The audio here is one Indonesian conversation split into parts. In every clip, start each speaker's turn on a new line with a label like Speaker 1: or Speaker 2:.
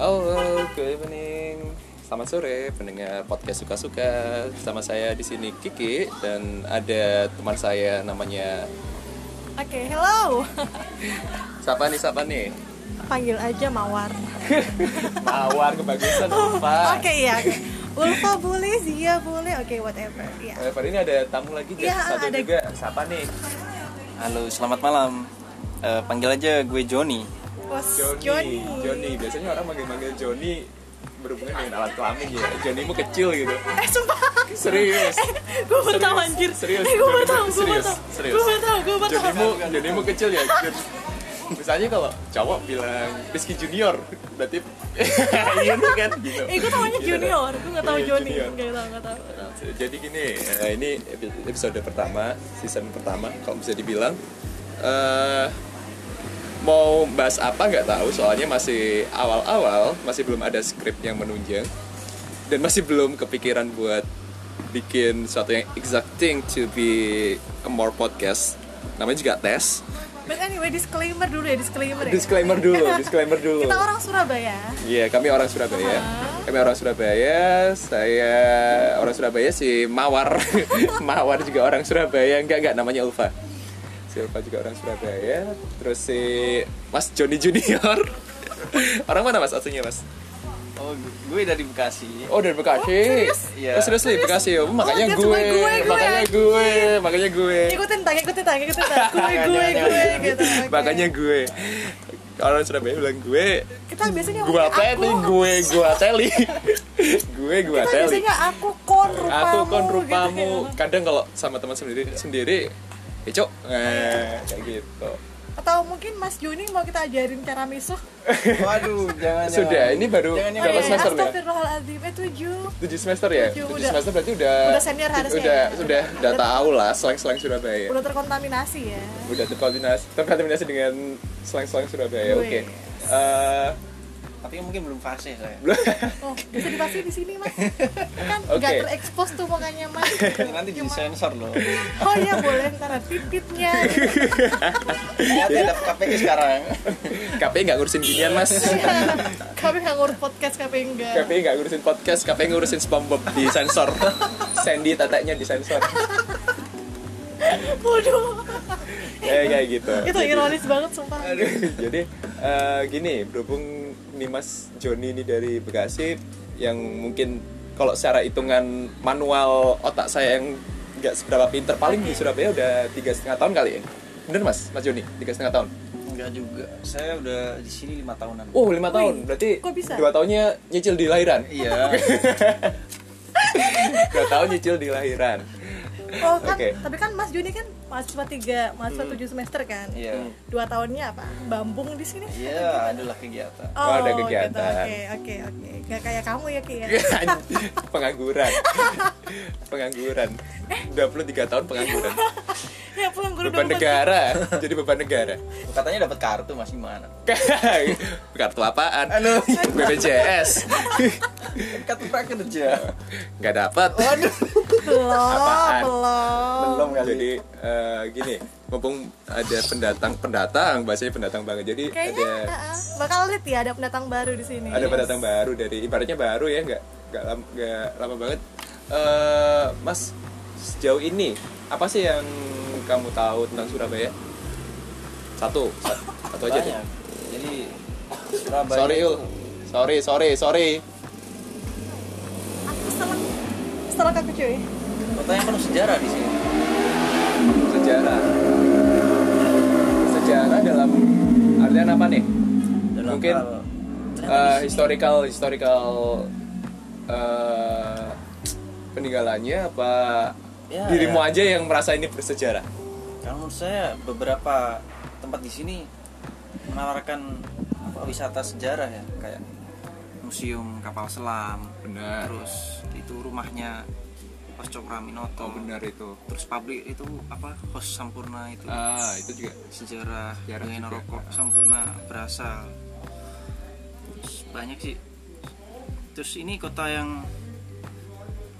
Speaker 1: Halo, good evening. Selamat sore pendengar podcast suka-suka. Sama saya di sini Kiki dan ada teman saya namanya
Speaker 2: Oke, hello.
Speaker 1: siapa nih siapa nih?
Speaker 2: Panggil aja Mawar.
Speaker 1: Mawar kebagusan lupa.
Speaker 2: Oke ya. Ulfa boleh, Zia boleh, oke whatever. Ya.
Speaker 1: Eh, pada ini ada tamu lagi guys.
Speaker 2: Iya,
Speaker 1: Satu
Speaker 2: ada.
Speaker 1: juga. Siapa nih?
Speaker 3: Halo, selamat malam. Eh, panggil aja gue Joni.
Speaker 2: Was
Speaker 1: Joni.
Speaker 2: Johnny.
Speaker 1: Joni. Biasanya orang manggil-manggil Joni berhubungan dengan alat kelamin ya. Johnny mu kecil gitu.
Speaker 2: Eh sumpah.
Speaker 1: Serius.
Speaker 2: Gue baru tahu anjir.
Speaker 1: Serius.
Speaker 2: Eh, gue baru tahu, gue baru
Speaker 1: Serius.
Speaker 2: tahu.
Speaker 1: Serius.
Speaker 2: Gue baru tahu, gue baru tahu.
Speaker 1: Jonimu, Jonimu kecil ya. Jon- Misalnya kalau cowok bilang Rizky Junior, berarti Yun kan gitu.
Speaker 2: Eh, gue tahunya
Speaker 1: Gitu dong.
Speaker 2: Junior. Gue nggak tahu
Speaker 1: Iya,
Speaker 2: Johnny.
Speaker 1: Junior.
Speaker 2: Nggak tahu, nggak tahu. nggak tahu.
Speaker 1: Jadi gini, eh, ini epi- episode pertama, season pertama kalau bisa dibilang. eh mau bahas apa nggak tahu, soalnya masih awal-awal, masih belum ada skrip yang menunjang dan masih belum kepikiran buat bikin sesuatu yang exacting to be a more podcast. Namanya juga tes.
Speaker 2: But anyway, disclaimer dulu ya, disclaimer ya.
Speaker 1: Disclaimer dulu, disclaimer dulu.
Speaker 2: Kita orang Surabaya.
Speaker 1: Iya, kami orang Surabaya.
Speaker 2: Ah.
Speaker 1: Kami orang Surabaya. Saya orang Surabaya si Mawar. Mawar juga orang Surabaya. Enggak, enggak namanya Ulfa. Si Ulfa juga orang Surabaya. Terus si Mas Joni Junior. orang mana Mas aslinya, Mas?
Speaker 3: Oh, gue dari Bekasi.
Speaker 1: Oh, dari Bekasi.
Speaker 2: serius?
Speaker 3: Iya.
Speaker 1: Oh, serius nih, Bekasi. Oh, makanya
Speaker 2: that's
Speaker 1: gue,
Speaker 2: why gue, Iya. gue,
Speaker 1: makanya gue, makanya gue.
Speaker 2: Ikutin tang, ikutin tang, ikutin
Speaker 1: Iya,
Speaker 2: tang. Gue,
Speaker 1: Jangan,
Speaker 2: gue,
Speaker 1: jangan,
Speaker 2: gue,
Speaker 1: jangan.
Speaker 2: gitu. oke.
Speaker 1: iya. Makanya gue. Orang Surabaya bilang gue,
Speaker 2: kita biasanya
Speaker 1: gua ya,
Speaker 2: ngomongnya
Speaker 1: teli gue gua teli gue gua
Speaker 2: Kita
Speaker 1: teli
Speaker 2: biasanya aku kon rupamu.
Speaker 1: aku kon
Speaker 2: gitu
Speaker 1: rupamu
Speaker 2: ya.
Speaker 1: kadang kalau sama teman sendiri sendiri eh cok eh kayak gitu
Speaker 2: Atau mungkin Mas Juni mau kita ajarin cara misuh
Speaker 3: Waduh, jangan. ya.
Speaker 1: sudah ini baru
Speaker 3: Jangan, jangan.
Speaker 1: berapa
Speaker 3: Eh,
Speaker 1: semester ya
Speaker 2: Astagfirullahaladzim, eh tujuh
Speaker 1: tujuh semester ya
Speaker 2: Tujuh,
Speaker 1: tujuh
Speaker 2: udah.
Speaker 1: semester berarti udah
Speaker 2: Udah senior harusnya
Speaker 1: udah
Speaker 2: ya.
Speaker 1: sudah udah tahu lah slang slang Surabaya
Speaker 2: Udah terkontaminasi ya
Speaker 1: udah terkoordinasi terkontaminasi dengan slang slang Surabaya
Speaker 2: Gue.
Speaker 1: oke Eh,
Speaker 3: Tapi mungkin belum fase saya.
Speaker 2: Oh, bisa dipastiin di sini mas Kan
Speaker 1: Oke.
Speaker 2: nggak terekspos tuh mukanya mas
Speaker 3: Nanti di sensor loh.
Speaker 2: Oh iya boleh, ntar ada pipitnya
Speaker 3: Lihat ada KPK sekarang.
Speaker 1: KPI nggak ngurusin ginian mas
Speaker 2: Kami nggak ngurus podcast, kami enggak
Speaker 1: KPI nggak ngurusin podcast, KPI ngurusin SpongeBob di sensor. Sandy teteknya di sensor.
Speaker 2: Waduh,
Speaker 1: Kayak kayak gitu.
Speaker 2: itu
Speaker 1: Jadi-
Speaker 2: ironis banget sumpah
Speaker 1: Aduh, Jadi eh, gini, berhubung Nimas Joni ini dari Bekasi yang mungkin kalau secara hitungan manual otak saya yang nggak seberapa pinter paling di Surabaya udah tiga setengah tahun kali ya bener mas mas Joni tiga setengah tahun
Speaker 3: Enggak juga. Saya udah di sini lima tahunan.
Speaker 1: oh lima tahun
Speaker 2: Wih,
Speaker 1: berarti
Speaker 2: kok bisa?
Speaker 1: dua tahunnya nyicil di lahiran
Speaker 3: Iya.
Speaker 1: dua tahun nyicil di lahiran
Speaker 2: Oh kan,
Speaker 1: Oke. Hmm.
Speaker 2: tapi kan mas Juni kan mahasiswa tiga, mahasiswa tujuh semester kan
Speaker 3: Iya.
Speaker 2: Dua tahunnya apa? Bambung di sini?
Speaker 3: Iya, adalah kegiatan.
Speaker 1: Oh, ada
Speaker 2: gitu.
Speaker 1: kegiatan.
Speaker 2: Oke, oke, oke. Gak kayak kamu ya, Ki ya.
Speaker 1: pengangguran pengangguran 23 tahun pengangguran
Speaker 2: ya pulang guru
Speaker 1: beban negara jadi beban negara
Speaker 3: Katanya dapat kartu masih mana?
Speaker 1: kartu apaan
Speaker 3: Halo.
Speaker 1: BPJS
Speaker 3: Kartu prakerja.
Speaker 1: nggak dapat
Speaker 3: Waduh.
Speaker 2: Belum,
Speaker 1: Apaan?
Speaker 2: belum.
Speaker 3: Belum kali.
Speaker 1: jadi eh, gini mumpung ada pendatang pendatang bahasanya pendatang banget jadi
Speaker 2: Kayaknya
Speaker 1: ada
Speaker 2: uh-uh, bakal lihat ya ada pendatang baru di sini.
Speaker 1: ada pendatang baru dari ibaratnya baru ya nggak nggak lama, nggak lama banget Eh, Mas sejauh ini apa sih yang kamu tahu tentang Surabaya satu satu, satu aja deh.
Speaker 3: Banyak. Jadi Surabaya.
Speaker 1: sorry
Speaker 3: itu-
Speaker 1: ul sorry sorry sorry
Speaker 2: Aku seneng. Setelah aku cuy.
Speaker 3: Kota yang penuh sejarah di sini.
Speaker 1: sejarah sejarah dalam artian apa nih
Speaker 3: Dalam
Speaker 1: Mungkin,
Speaker 3: hal-
Speaker 1: Eh, historical historical eh, peninggalannya apa
Speaker 3: Ya,
Speaker 1: dirimu
Speaker 3: ya.
Speaker 1: aja yang merasa ini bersejarah
Speaker 3: Kalau menurut saya beberapa tempat di sini menawarkan apa, wisata sejarah ya kayak museum kapal selam,
Speaker 1: Benar.
Speaker 3: terus itu rumahnya Hos Cokraminoto,
Speaker 1: oh benar itu
Speaker 3: terus pabrik itu apa Hos Sampurna itu
Speaker 1: ah itu juga
Speaker 3: sejarah
Speaker 1: Sejarah
Speaker 3: dengan
Speaker 1: juga.
Speaker 3: rokok Sampurna berasal terus banyak sih terus ini kota yang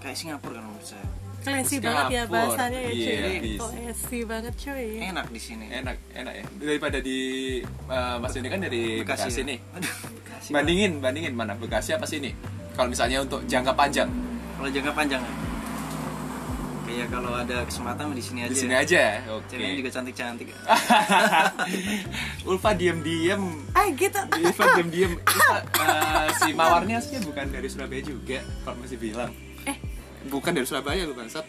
Speaker 3: kayak Singapura kan menurut saya
Speaker 2: Classy
Speaker 3: Singapura.
Speaker 2: banget ya bahasanya ya cuy.
Speaker 1: Iya, please.
Speaker 2: Classy banget cuy.
Speaker 3: enak di sini
Speaker 1: enak enak ya daripada di eh, Mas Doni kan dari Bekasi,
Speaker 3: ya.
Speaker 1: nih
Speaker 3: Aduh, Bekasi.
Speaker 1: bandingin bandingin mana Bekasi apa sini kalau misalnya untuk jangka panjang
Speaker 3: kalau jangka panjang ya? kayak kalau ada kesempatan di sini aja
Speaker 1: di sini aja ya? oke
Speaker 3: ceweknya Iya. juga cantik cantik
Speaker 2: Oh.
Speaker 1: Ulfa diem-diem
Speaker 2: Ah gitu.
Speaker 1: Ulfa diem-diem Ulfa, eh, si mawarnya sih bukan dari Surabaya juga kalau masih bilang
Speaker 2: Eh,
Speaker 1: bukan dari Surabaya lu bangsat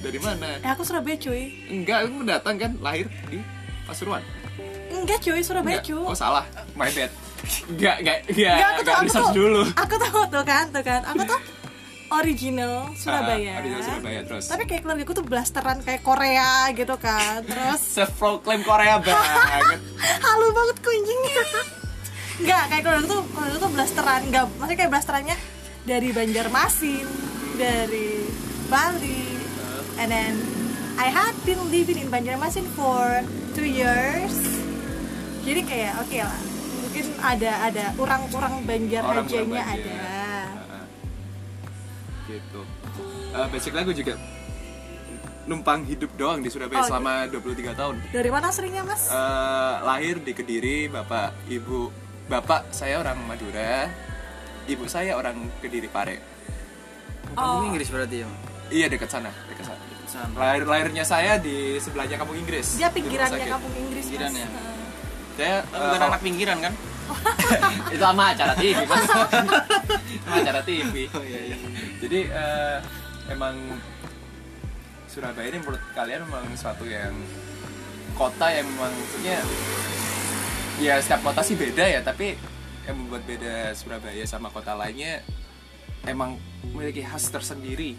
Speaker 1: dari mana
Speaker 2: eh, aku Surabaya cuy.
Speaker 1: enggak lu datang kan lahir di Pasuruan
Speaker 2: Enggak cuy, Surabaya
Speaker 1: Enggak.
Speaker 2: cuy.
Speaker 1: oh salah my bad enggak enggak enggak
Speaker 2: Enggak,
Speaker 1: enggak
Speaker 2: aku tuh, aku tuh,
Speaker 1: research Iya, dulu
Speaker 2: aku tuh, tuh kan, tuh kan, aku tuh original Surabaya.
Speaker 1: Ah, original Surabaya, terus?
Speaker 2: Tapi kayak keluargaku tuh blasteran kayak Korea gitu kan, terus
Speaker 1: self proclaim Korea
Speaker 2: Kan?
Speaker 1: banget
Speaker 2: halu banget kuncinya. Enggak, kayak keluarga tuh, keluarga tuh blasteran, enggak, maksudnya kayak blasterannya dari Banjarmasin, dari Bali, and then I had been living in Banjarmasin for two years. Jadi kayak oke lah, mungkin ada ada orang-orang Banjar
Speaker 1: Orang-orang
Speaker 2: ajanya
Speaker 1: Banjar.
Speaker 2: ada.
Speaker 1: Ah, ah. gitu Eh, basically aku juga numpang hidup doang di Surabaya
Speaker 2: Oh,
Speaker 1: selama 23 tahun
Speaker 2: Dari mana seringnya mas?
Speaker 1: Eh, lahir di Kediri, bapak, ibu, bapak saya orang Madura, ibu saya orang Kediri Pare.
Speaker 3: kamu Inggris berarti ya Bang?
Speaker 1: Iya dekat sana, dekat sana.
Speaker 3: San.
Speaker 1: Lahir lahirnya saya di sebelahnya kampung Inggris.
Speaker 2: Dia
Speaker 1: di rumah
Speaker 2: pinggirannya
Speaker 1: sakit.
Speaker 2: kampung Inggris mas.
Speaker 3: Pinggirannya.
Speaker 2: Heeh.
Speaker 1: Saya eh,
Speaker 3: Tapi bukan anak pinggiran kan
Speaker 1: itu sama acara TV mas, sama acara TV.
Speaker 2: Oh, iya,
Speaker 1: Jadi eh, emang Surabaya ini menurut kalian memang suatu yang kota yang memang maksudnya ya setiap kota sih beda ya tapi yang membuat beda Surabaya sama kota lainnya emang memiliki khas tersendiri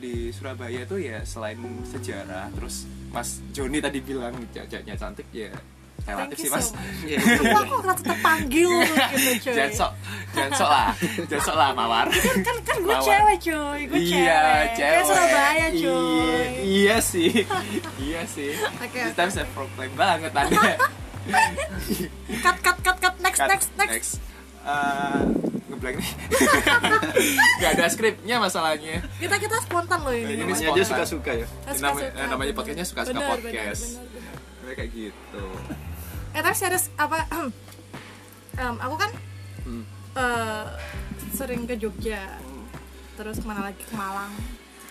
Speaker 1: di Surabaya tuh ya selain sejarah terus Mas Joni tadi bilang jajaknya cantik ya relatif sih
Speaker 2: Thank you
Speaker 1: Mas
Speaker 2: so much.
Speaker 3: Iya.
Speaker 2: Sumpah aku merasa terpanggil gitu cuy.
Speaker 1: jangan sok jangan sok lah jangan sok lah mawar
Speaker 2: Kan kan, kan gue
Speaker 1: Lawan.
Speaker 2: cewek cuy, gue cewek. Kayak Surabaya
Speaker 1: Iya,
Speaker 2: cuy.
Speaker 1: iya sih iya sih
Speaker 2: Oke,
Speaker 1: This
Speaker 2: oke,
Speaker 1: time saya proclaim banget ada
Speaker 2: Cut cut cut cut next
Speaker 1: Cut.
Speaker 2: next next.
Speaker 1: Eh, ngeblank nih Gak ada skripnya masalahnya
Speaker 2: Kita kita spontan loh ini.
Speaker 1: Ini
Speaker 2: Mas.
Speaker 3: namanya aja suka suka ya
Speaker 2: Kita
Speaker 1: Nama- eh, namanya
Speaker 2: bener.
Speaker 1: podcastnya suka-suka
Speaker 2: Bener, bener,
Speaker 1: podcast.
Speaker 2: bener, bener.
Speaker 1: Kayak kayak gitu
Speaker 2: Eh tapi serius apa? em, aku kan
Speaker 1: Hmm.
Speaker 2: eh, sering ke Jogja, terus kemana lagi ke Malang.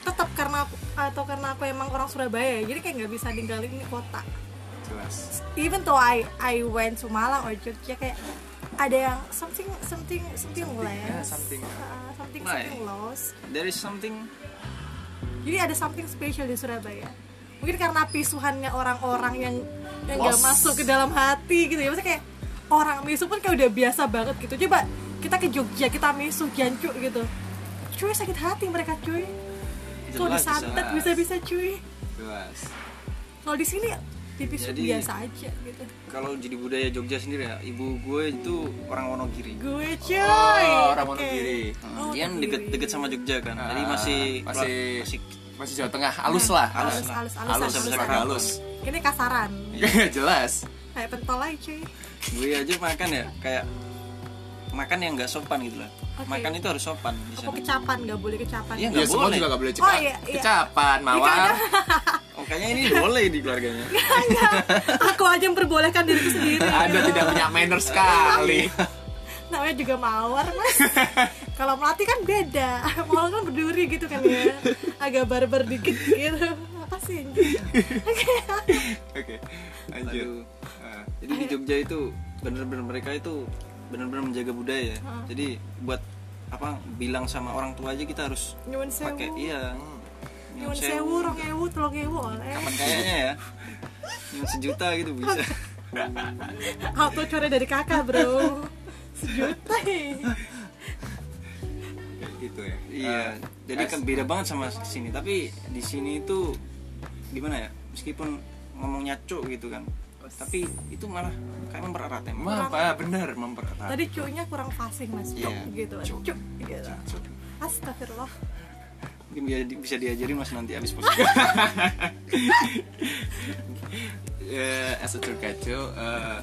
Speaker 2: Tetap karena aku atau karena aku emang orang Surabaya, ya, jadi kayak nggak bisa ninggalin ini kota.
Speaker 1: jelas
Speaker 2: even though I I went to Malang or Jogja kayak ada yang something something something
Speaker 1: ya,
Speaker 2: less
Speaker 1: something.
Speaker 2: Uh, something
Speaker 3: Why?
Speaker 2: something lost
Speaker 3: there is something
Speaker 2: jadi ada something special di Surabaya mungkin karena pisuhannya orang-orang yang yang gak
Speaker 1: Lost.
Speaker 2: masuk ke dalam hati gitu ya maksudnya kayak orang misu pun kayak udah biasa banget gitu coba kita ke Jogja kita misu jancuk gitu cuy sakit hati mereka cuy kalau
Speaker 3: jelas
Speaker 2: disantet
Speaker 1: jelas.
Speaker 2: bisa-bisa cuy
Speaker 1: jelas
Speaker 2: kalau di sini dipisu
Speaker 3: Jadi-
Speaker 2: biasa aja gitu
Speaker 3: kalau jadi budaya Jogja sendiri ya ibu gue itu orang Wonogiri Nah,
Speaker 2: gue cuy
Speaker 1: Oh, orang
Speaker 2: Oke.
Speaker 1: Wonogiri.
Speaker 2: Oh,
Speaker 3: dia
Speaker 2: Wonogiri.
Speaker 3: deket deket sama Jogja kan jadi
Speaker 1: Ah,
Speaker 3: masih
Speaker 1: masih-
Speaker 3: masih
Speaker 1: masih Jawa Tengah
Speaker 2: Iya.
Speaker 1: halus lah
Speaker 3: Halus.
Speaker 2: halus halus halus
Speaker 1: halus
Speaker 2: halus,
Speaker 1: bisa
Speaker 2: halus.
Speaker 1: kata halus
Speaker 2: ini kasaran
Speaker 1: jelas
Speaker 2: kayak pentol aja cuy
Speaker 3: gue aja makan ya kayak makan yang nggak sopan gitu lah
Speaker 2: Oke.
Speaker 3: makan itu harus sopan di
Speaker 2: aku
Speaker 3: sana
Speaker 2: kecapan nggak boleh kecapan
Speaker 3: Iya,
Speaker 1: Ya
Speaker 3: Nggak
Speaker 1: semua
Speaker 3: boleh.
Speaker 1: juga gak boleh cepat.
Speaker 2: Oh, iya, iya.
Speaker 1: Kecapan, mawar.
Speaker 3: oh, kayaknya ini boleh di keluarganya
Speaker 2: aku aja memperbolehkan diriku sendiri
Speaker 1: Anda tidak punya manner sekali.
Speaker 2: Iya. namanya juga mawar mas kalau melati kan beda mawar kan berduri gitu kan ya agak barbar dikit gitu apa sih anjing?
Speaker 1: Oke, lanjut.
Speaker 3: Aduh.
Speaker 1: Ah,
Speaker 3: jadi di Jogja itu bener-bener mereka itu bener-bener menjaga budaya ya. jadi buat apa bilang sama orang tua aja kita harus
Speaker 2: nyuwun sewu
Speaker 3: pakai iya
Speaker 2: nyuwun sewu rong ewu telung ewu oleh
Speaker 3: kayaknya ya nyuwun sejuta gitu bisa
Speaker 2: auto core dari kakak bro sejuta eh.
Speaker 1: kayak gitu ya.
Speaker 3: iya
Speaker 1: Ah,
Speaker 3: jadi
Speaker 1: guys,
Speaker 3: kan beda banget sama sini tapi di sini itu gimana ya meskipun ngomongnya cuk gitu kan tapi itu malah kayak mempererat ya
Speaker 1: Emang apa? ah, Bener, mempererat.
Speaker 2: tadi cuknya kurang fasih mas cuk
Speaker 3: Iya.
Speaker 2: gitu
Speaker 1: Cuk.
Speaker 2: cuk gitu astagfirullah
Speaker 3: mungkin bisa, di- bisa diajarin mas nanti abis posisi
Speaker 1: Eh, as a tour guide too, eh,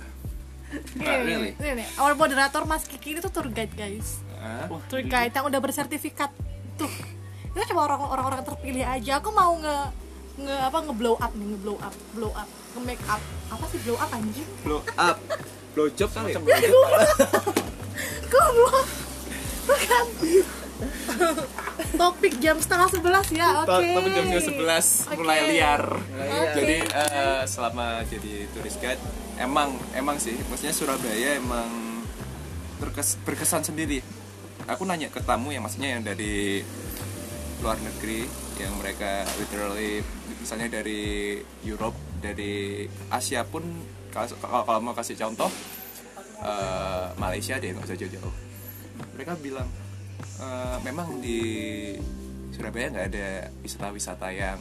Speaker 2: Nih,
Speaker 1: really?
Speaker 2: nih, nih, Our
Speaker 3: eh.
Speaker 2: moderator Mas Kiki ini tuh tour guide guys
Speaker 1: ah,
Speaker 2: Tour guide yang udah bersertifikat Tuh kita cuma orang orang orang terpilih aja aku mau nge nge apa nge blow up nih nge blow up blow up nge make up apa sih blow up anjing
Speaker 1: blow up blow job kali ya?
Speaker 3: Macam belum jumpa.
Speaker 2: Kok gua bukan topik jam setengah sebelas ya oke
Speaker 1: Tapi tapi jam 11 mulai
Speaker 2: Oke.
Speaker 1: liar.
Speaker 2: Oke.
Speaker 1: Jadi eh, selama jadi turis guide emang emang sih maksudnya Surabaya emang terkes- berkesan sendiri. Aku nanya ke tamu yang maksudnya yang dari luar negeri yang mereka literally misalnya dari Europe, dari Asia pun kalau kalau- kalau mau kasih contoh eh, Malaysia deh nggak usah jauh-jauh. Mereka bilang eh, memang di Surabaya nggak ada wisata-wisata yang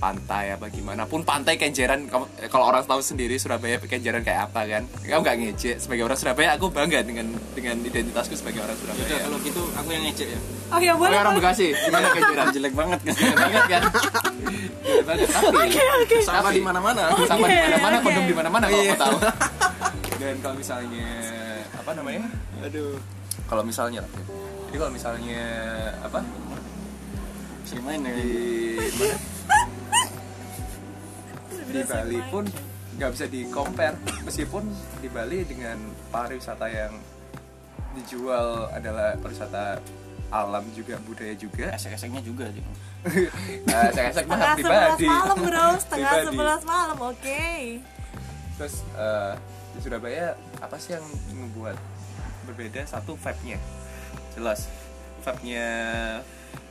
Speaker 1: pantai apa gimana pun pantai Kenjeran kamu- eh, kalau orang tahu sendiri Surabaya Kenjeran kayak apa kan kamu nggak ngejek sebagai orang Surabaya aku bangga dengan dengan identitasku sebagai orang
Speaker 3: Udah,
Speaker 1: Surabaya
Speaker 3: kalau gitu aku yang ngecek ya.
Speaker 2: oh ya
Speaker 1: Oke
Speaker 2: boleh
Speaker 1: orang
Speaker 2: boleh.
Speaker 1: Bekasi gimana Kenjeran
Speaker 3: Jelek banget kan.
Speaker 1: Gila banget kan Gila banget tapi
Speaker 2: oke oke
Speaker 3: Sampah di mana-mana.
Speaker 2: Oke,
Speaker 1: sama di mana-mana
Speaker 2: oke.
Speaker 1: kondom di mana-mana kalau
Speaker 3: Iya.
Speaker 1: mau tahu dan kalau misalnya apa namanya
Speaker 3: Aduh.
Speaker 1: kalau misalnya lah jadi kalau misalnya apa
Speaker 3: Gimana ya?
Speaker 1: di mana? di Bali pun nggak bisa di compare meskipun di Bali dengan pariwisata yang dijual adalah pariwisata alam juga budaya juga
Speaker 3: Esek-eseknya juga aja.
Speaker 1: nah, saya saya
Speaker 2: setengah sebelas
Speaker 1: pribadi
Speaker 2: malam bro setengah
Speaker 1: Pribadi.
Speaker 2: sebelas malam oke
Speaker 1: Terus eh, di Surabaya apa sih yang membuat berbeda? Satu vibe-nya, jelas. Vibe-nya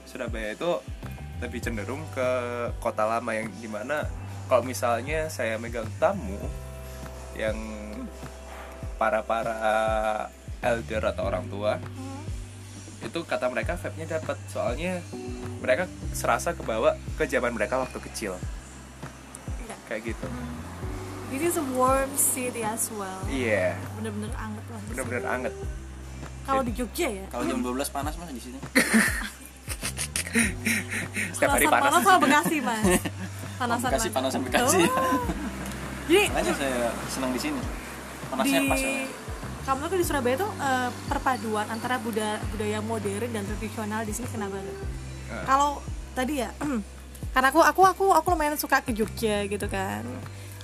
Speaker 1: Surabaya itu lebih cenderung ke kota lama yang dimana kalau misalnya saya megang tamu yang para para elder atau orang tua itu kata mereka vibe-nya dapat soalnya mereka serasa kebawa ke zaman mereka waktu kecil
Speaker 2: Enggak.
Speaker 1: kayak gitu
Speaker 2: this is a warm city as well
Speaker 1: iya
Speaker 2: bener-bener anget lah di
Speaker 1: bener-bener anget
Speaker 2: sini. kalau di Jogja ya
Speaker 3: Kalau jam 12 panas mas di sini.
Speaker 1: setiap hari
Speaker 2: Panasan
Speaker 1: panas
Speaker 2: panas sama Bekasi mas panasan
Speaker 3: Bekasi
Speaker 2: Mas.
Speaker 3: panas sama Bekasi.
Speaker 2: Oh. jadi
Speaker 3: Makanya saya senang di sini. Panasnya pas.
Speaker 2: di
Speaker 3: Ya.
Speaker 2: kamu tuh di Surabaya tuh eh, perpaduan antara budaya budaya modern dan tradisional di sini kena banget. Kalau tadi ya, karena aku aku aku aku lumayan suka ke Jogja gitu kan.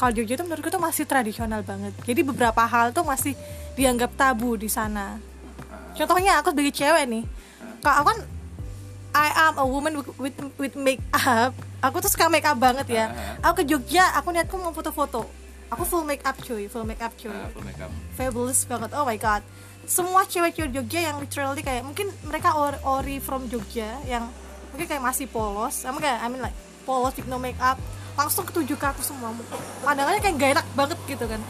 Speaker 2: Kalau Jogja tuh menurutku tuh masih tradisional banget. Jadi beberapa hal tuh masih dianggap tabu di sana. Contohnya aku sebagai cewek nih, kalau aku kan I am a woman with with, with make up. Aku tuh suka make up banget ya. Aku ke Jogja, aku niatku mau foto-foto. Aku full make up cuy, full make up cuy
Speaker 1: Nah, full makeup.
Speaker 2: fabulous banget oh my god semua cewek-cewek Jogja yang literally kayak mungkin mereka or- ori from Jogja yang mungkin kayak masih polos sama kayak I mean like polos with no make up langsung ketujuh ke aku semua pandangannya kayak gak enak banget gitu kan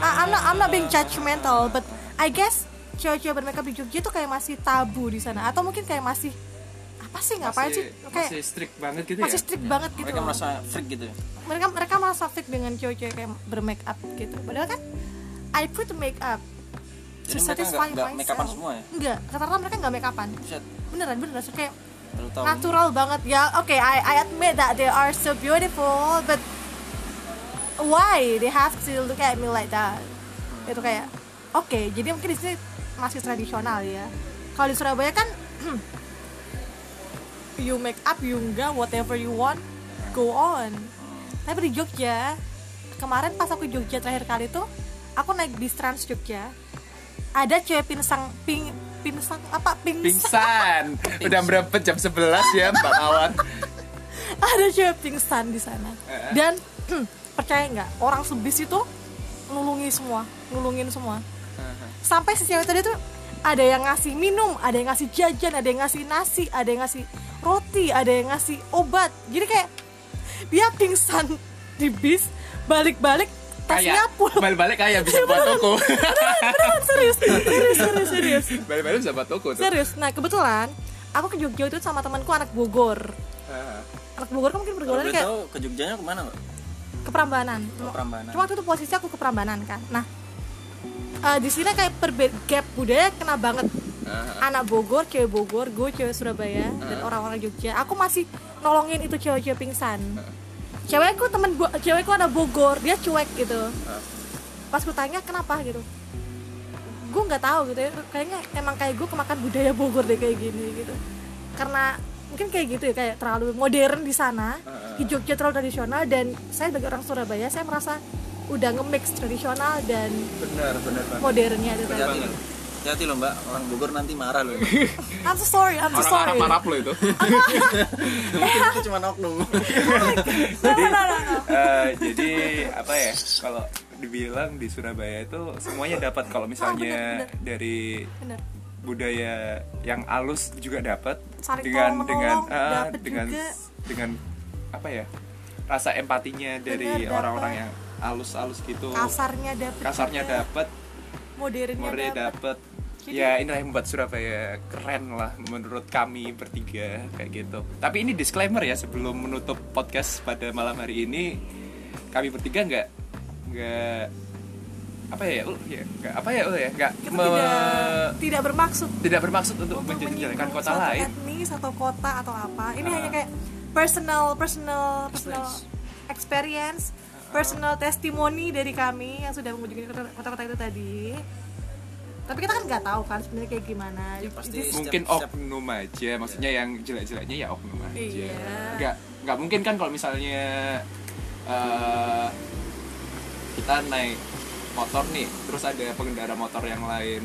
Speaker 1: Ah.
Speaker 2: I- I'm not, I'm not being judgmental but I guess cewek-cewek bermakeup di Jogja tuh kayak masih tabu di sana atau mungkin kayak masih apa sih ngapain sih
Speaker 1: Masih-
Speaker 2: kayak
Speaker 1: masih strict banget gitu
Speaker 2: masih
Speaker 1: ya
Speaker 2: strict banget gitu
Speaker 3: Mereka
Speaker 2: loh
Speaker 3: merasa freak gitu ya.
Speaker 2: mereka mereka malah subjek dengan cewek-cewek kayak bermake up gitu padahal kan I put make up
Speaker 3: Jadi mereka nggak- nggak make upan semua ya?
Speaker 2: enggak karena mereka nggak make upan
Speaker 3: Buset.
Speaker 2: beneran beneran so, kayak
Speaker 3: Baru tahu.
Speaker 2: natural banget ya oke I I admit that they are so beautiful but why they have to look at me like that itu kayak oke jadi mungkin di sini masih tradisional ya kalau di Surabaya kan you make up you enggak whatever you want go on tapi di Jogja kemarin pas aku Jogja terakhir kali tuh aku naik bis Trans Jogja ada cewek pinsang ping pinsang apa pingsang
Speaker 1: pingsan udah berapa jam 11 ya mbak Awan
Speaker 2: ada cewek pingsan di sana
Speaker 1: Eh.
Speaker 2: dan hmm, percaya nggak orang sebis itu nulungi semua nulungin semua sampai si cewek tadi tuh ada yang ngasih minum ada yang ngasih jajan ada yang ngasih nasi ada yang ngasih roti ada yang ngasih obat jadi kayak dia pingsan di bis balik-balik
Speaker 1: kayak
Speaker 2: tasnya full
Speaker 1: balik-balik kayak bisa buat toko
Speaker 2: Beneran, serius serius serius serius
Speaker 1: balik-balik bisa buat toko tuh
Speaker 2: serius nah kebetulan aku ke Jogja itu sama temanku anak Bogor
Speaker 1: Ah,
Speaker 2: anak Bogor kan mungkin
Speaker 3: Kalau
Speaker 2: pergaulannya
Speaker 3: boleh
Speaker 2: kayak
Speaker 3: tahu ke Jogjanya kemana mbak?
Speaker 2: ke Prambanan.
Speaker 3: Ke Prambanan.
Speaker 2: Cuma waktu itu posisi aku ke Prambanan kan. Nah, eh, di sini kayak perbe- gap budaya kena banget.
Speaker 1: ah.
Speaker 2: Anak Bogor, cewek Bogor, gue cewek Surabaya dan orang-orang Jogja. Aku masih nolongin itu cewek-cewek pingsan. Cewekku temen gue, cewekku anak Bogor, dia cuek gitu. Pas gue tanya kenapa gitu, gue nggak tahu gitu ya. Kayaknya emang kayak gue kemakan budaya Bogor deh kayak gini gitu. karena mungkin kayak gitu ya kayak terlalu modern di sana di Jogja terlalu tradisional dan saya sebagai orang Surabaya saya merasa udah nge-mix tradisional dan
Speaker 1: benar benar banget
Speaker 2: modernnya gitu. itu
Speaker 3: hati-hati
Speaker 2: tadi.
Speaker 3: loh hati loh mbak orang Bogor nanti marah loh
Speaker 2: I'm so sorry, I'm
Speaker 1: orang
Speaker 2: so sorry.
Speaker 1: Arab Arab lo itu
Speaker 3: itu cuma oknum
Speaker 2: No, no, no, no, no.
Speaker 1: Eh, jadi apa ya kalau dibilang di Surabaya itu semuanya dapat kalau misalnya
Speaker 2: Ah, benar,
Speaker 1: dari
Speaker 2: Bener.
Speaker 1: budaya yang alus juga dapat
Speaker 2: Saling
Speaker 1: dengan
Speaker 2: tolong
Speaker 1: dengan
Speaker 2: menolong
Speaker 1: eh,
Speaker 2: dapat
Speaker 1: dengan
Speaker 2: juga.
Speaker 1: dengan apa ya rasa empatinya dari
Speaker 2: Benar,
Speaker 1: orang-orang
Speaker 2: dapat.
Speaker 1: yang alus-alus gitu
Speaker 2: Kasarnya dapet.
Speaker 1: kasarnya
Speaker 2: juga,
Speaker 1: dapat
Speaker 2: Modernnya
Speaker 1: murni
Speaker 2: dapet.
Speaker 1: dapat
Speaker 2: Iya. Jadi-
Speaker 1: ya inilah yang membuat Surabaya keren lah menurut kami bertiga kayak gitu tapi ini disclaimer ya sebelum menutup podcast pada malam hari ini kami bertiga nggak nggak apa ya Ul? ya nggak apa ya Ul ya nggak
Speaker 2: Kita
Speaker 1: me-
Speaker 2: tidak tidak bermaksud
Speaker 1: tidak bermaksud untuk,
Speaker 2: untuk
Speaker 1: menjelek-jelekan
Speaker 2: menyinggung
Speaker 1: kota
Speaker 2: suatu
Speaker 1: lain
Speaker 2: etnis atau kota atau apa. Ini
Speaker 1: Ah.
Speaker 2: hanya kayak personal personal personal experience, personal testimoni dari kami yang sudah mengunjungi kota- kota-kota itu tadi. Tapi kita kan nggak tahu kan sebenarnya kayak gimana.
Speaker 3: Ya, pasti.
Speaker 2: This-
Speaker 1: mungkin
Speaker 3: Setiap- setiap- Iya.
Speaker 1: oknum aja maksudnya yang jelek-jeleknya ya oknum aja
Speaker 2: Iya.
Speaker 1: nggak nggak mungkin kan kalau misalnya eh, kita naik motor nih terus ada pengendara motor yang lain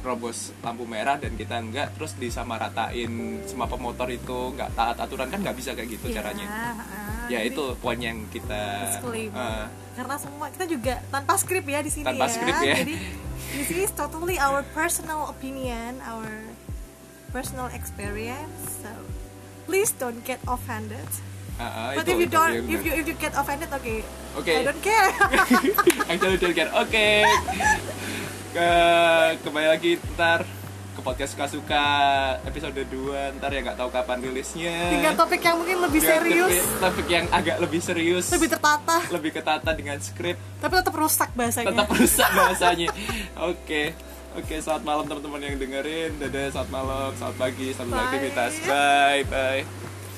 Speaker 1: robos lampu merah dan kita enggak terus disamaratain semua pemotor itu nggak taat aturan kan nggak bisa kayak gitu
Speaker 2: Iya,
Speaker 1: caranya
Speaker 2: ah,
Speaker 1: ya
Speaker 2: jadi
Speaker 1: itu poin yang kita eh,
Speaker 2: disclaimer. Karena semua kita juga tanpa skrip ya di sini
Speaker 1: Tanpa
Speaker 2: ya.
Speaker 1: skrip ya.
Speaker 2: Jadi this is totally our personal opinion, our personal experience. So please don't get offended.
Speaker 1: eh, eh,
Speaker 2: But
Speaker 1: itu-
Speaker 2: if you
Speaker 1: itu
Speaker 2: don't,
Speaker 1: yang
Speaker 2: if
Speaker 1: benar.
Speaker 2: you if you get offended, okay.
Speaker 1: Oke.
Speaker 2: I don't care.
Speaker 1: Actually don't care. Oke. Ke kembali lagi ntar ke podcast suka-suka episode 2 ntar ya nggak tahu kapan rilisnya.
Speaker 2: Tinggal topik yang mungkin lebih
Speaker 1: Dengan
Speaker 2: serius,
Speaker 1: topik- Topik yang agak lebih serius.
Speaker 2: lebih tertata,
Speaker 1: lebih ketata dengan skrip
Speaker 2: tapi tetap rusak bahasanya.
Speaker 1: tetap rusak bahasanya. Oke. Oke, selamat malam teman-teman yang dengerin. Dadah, selamat malam, selamat pagi, selamat
Speaker 2: Bye.
Speaker 1: aktivitas. Bye, bye.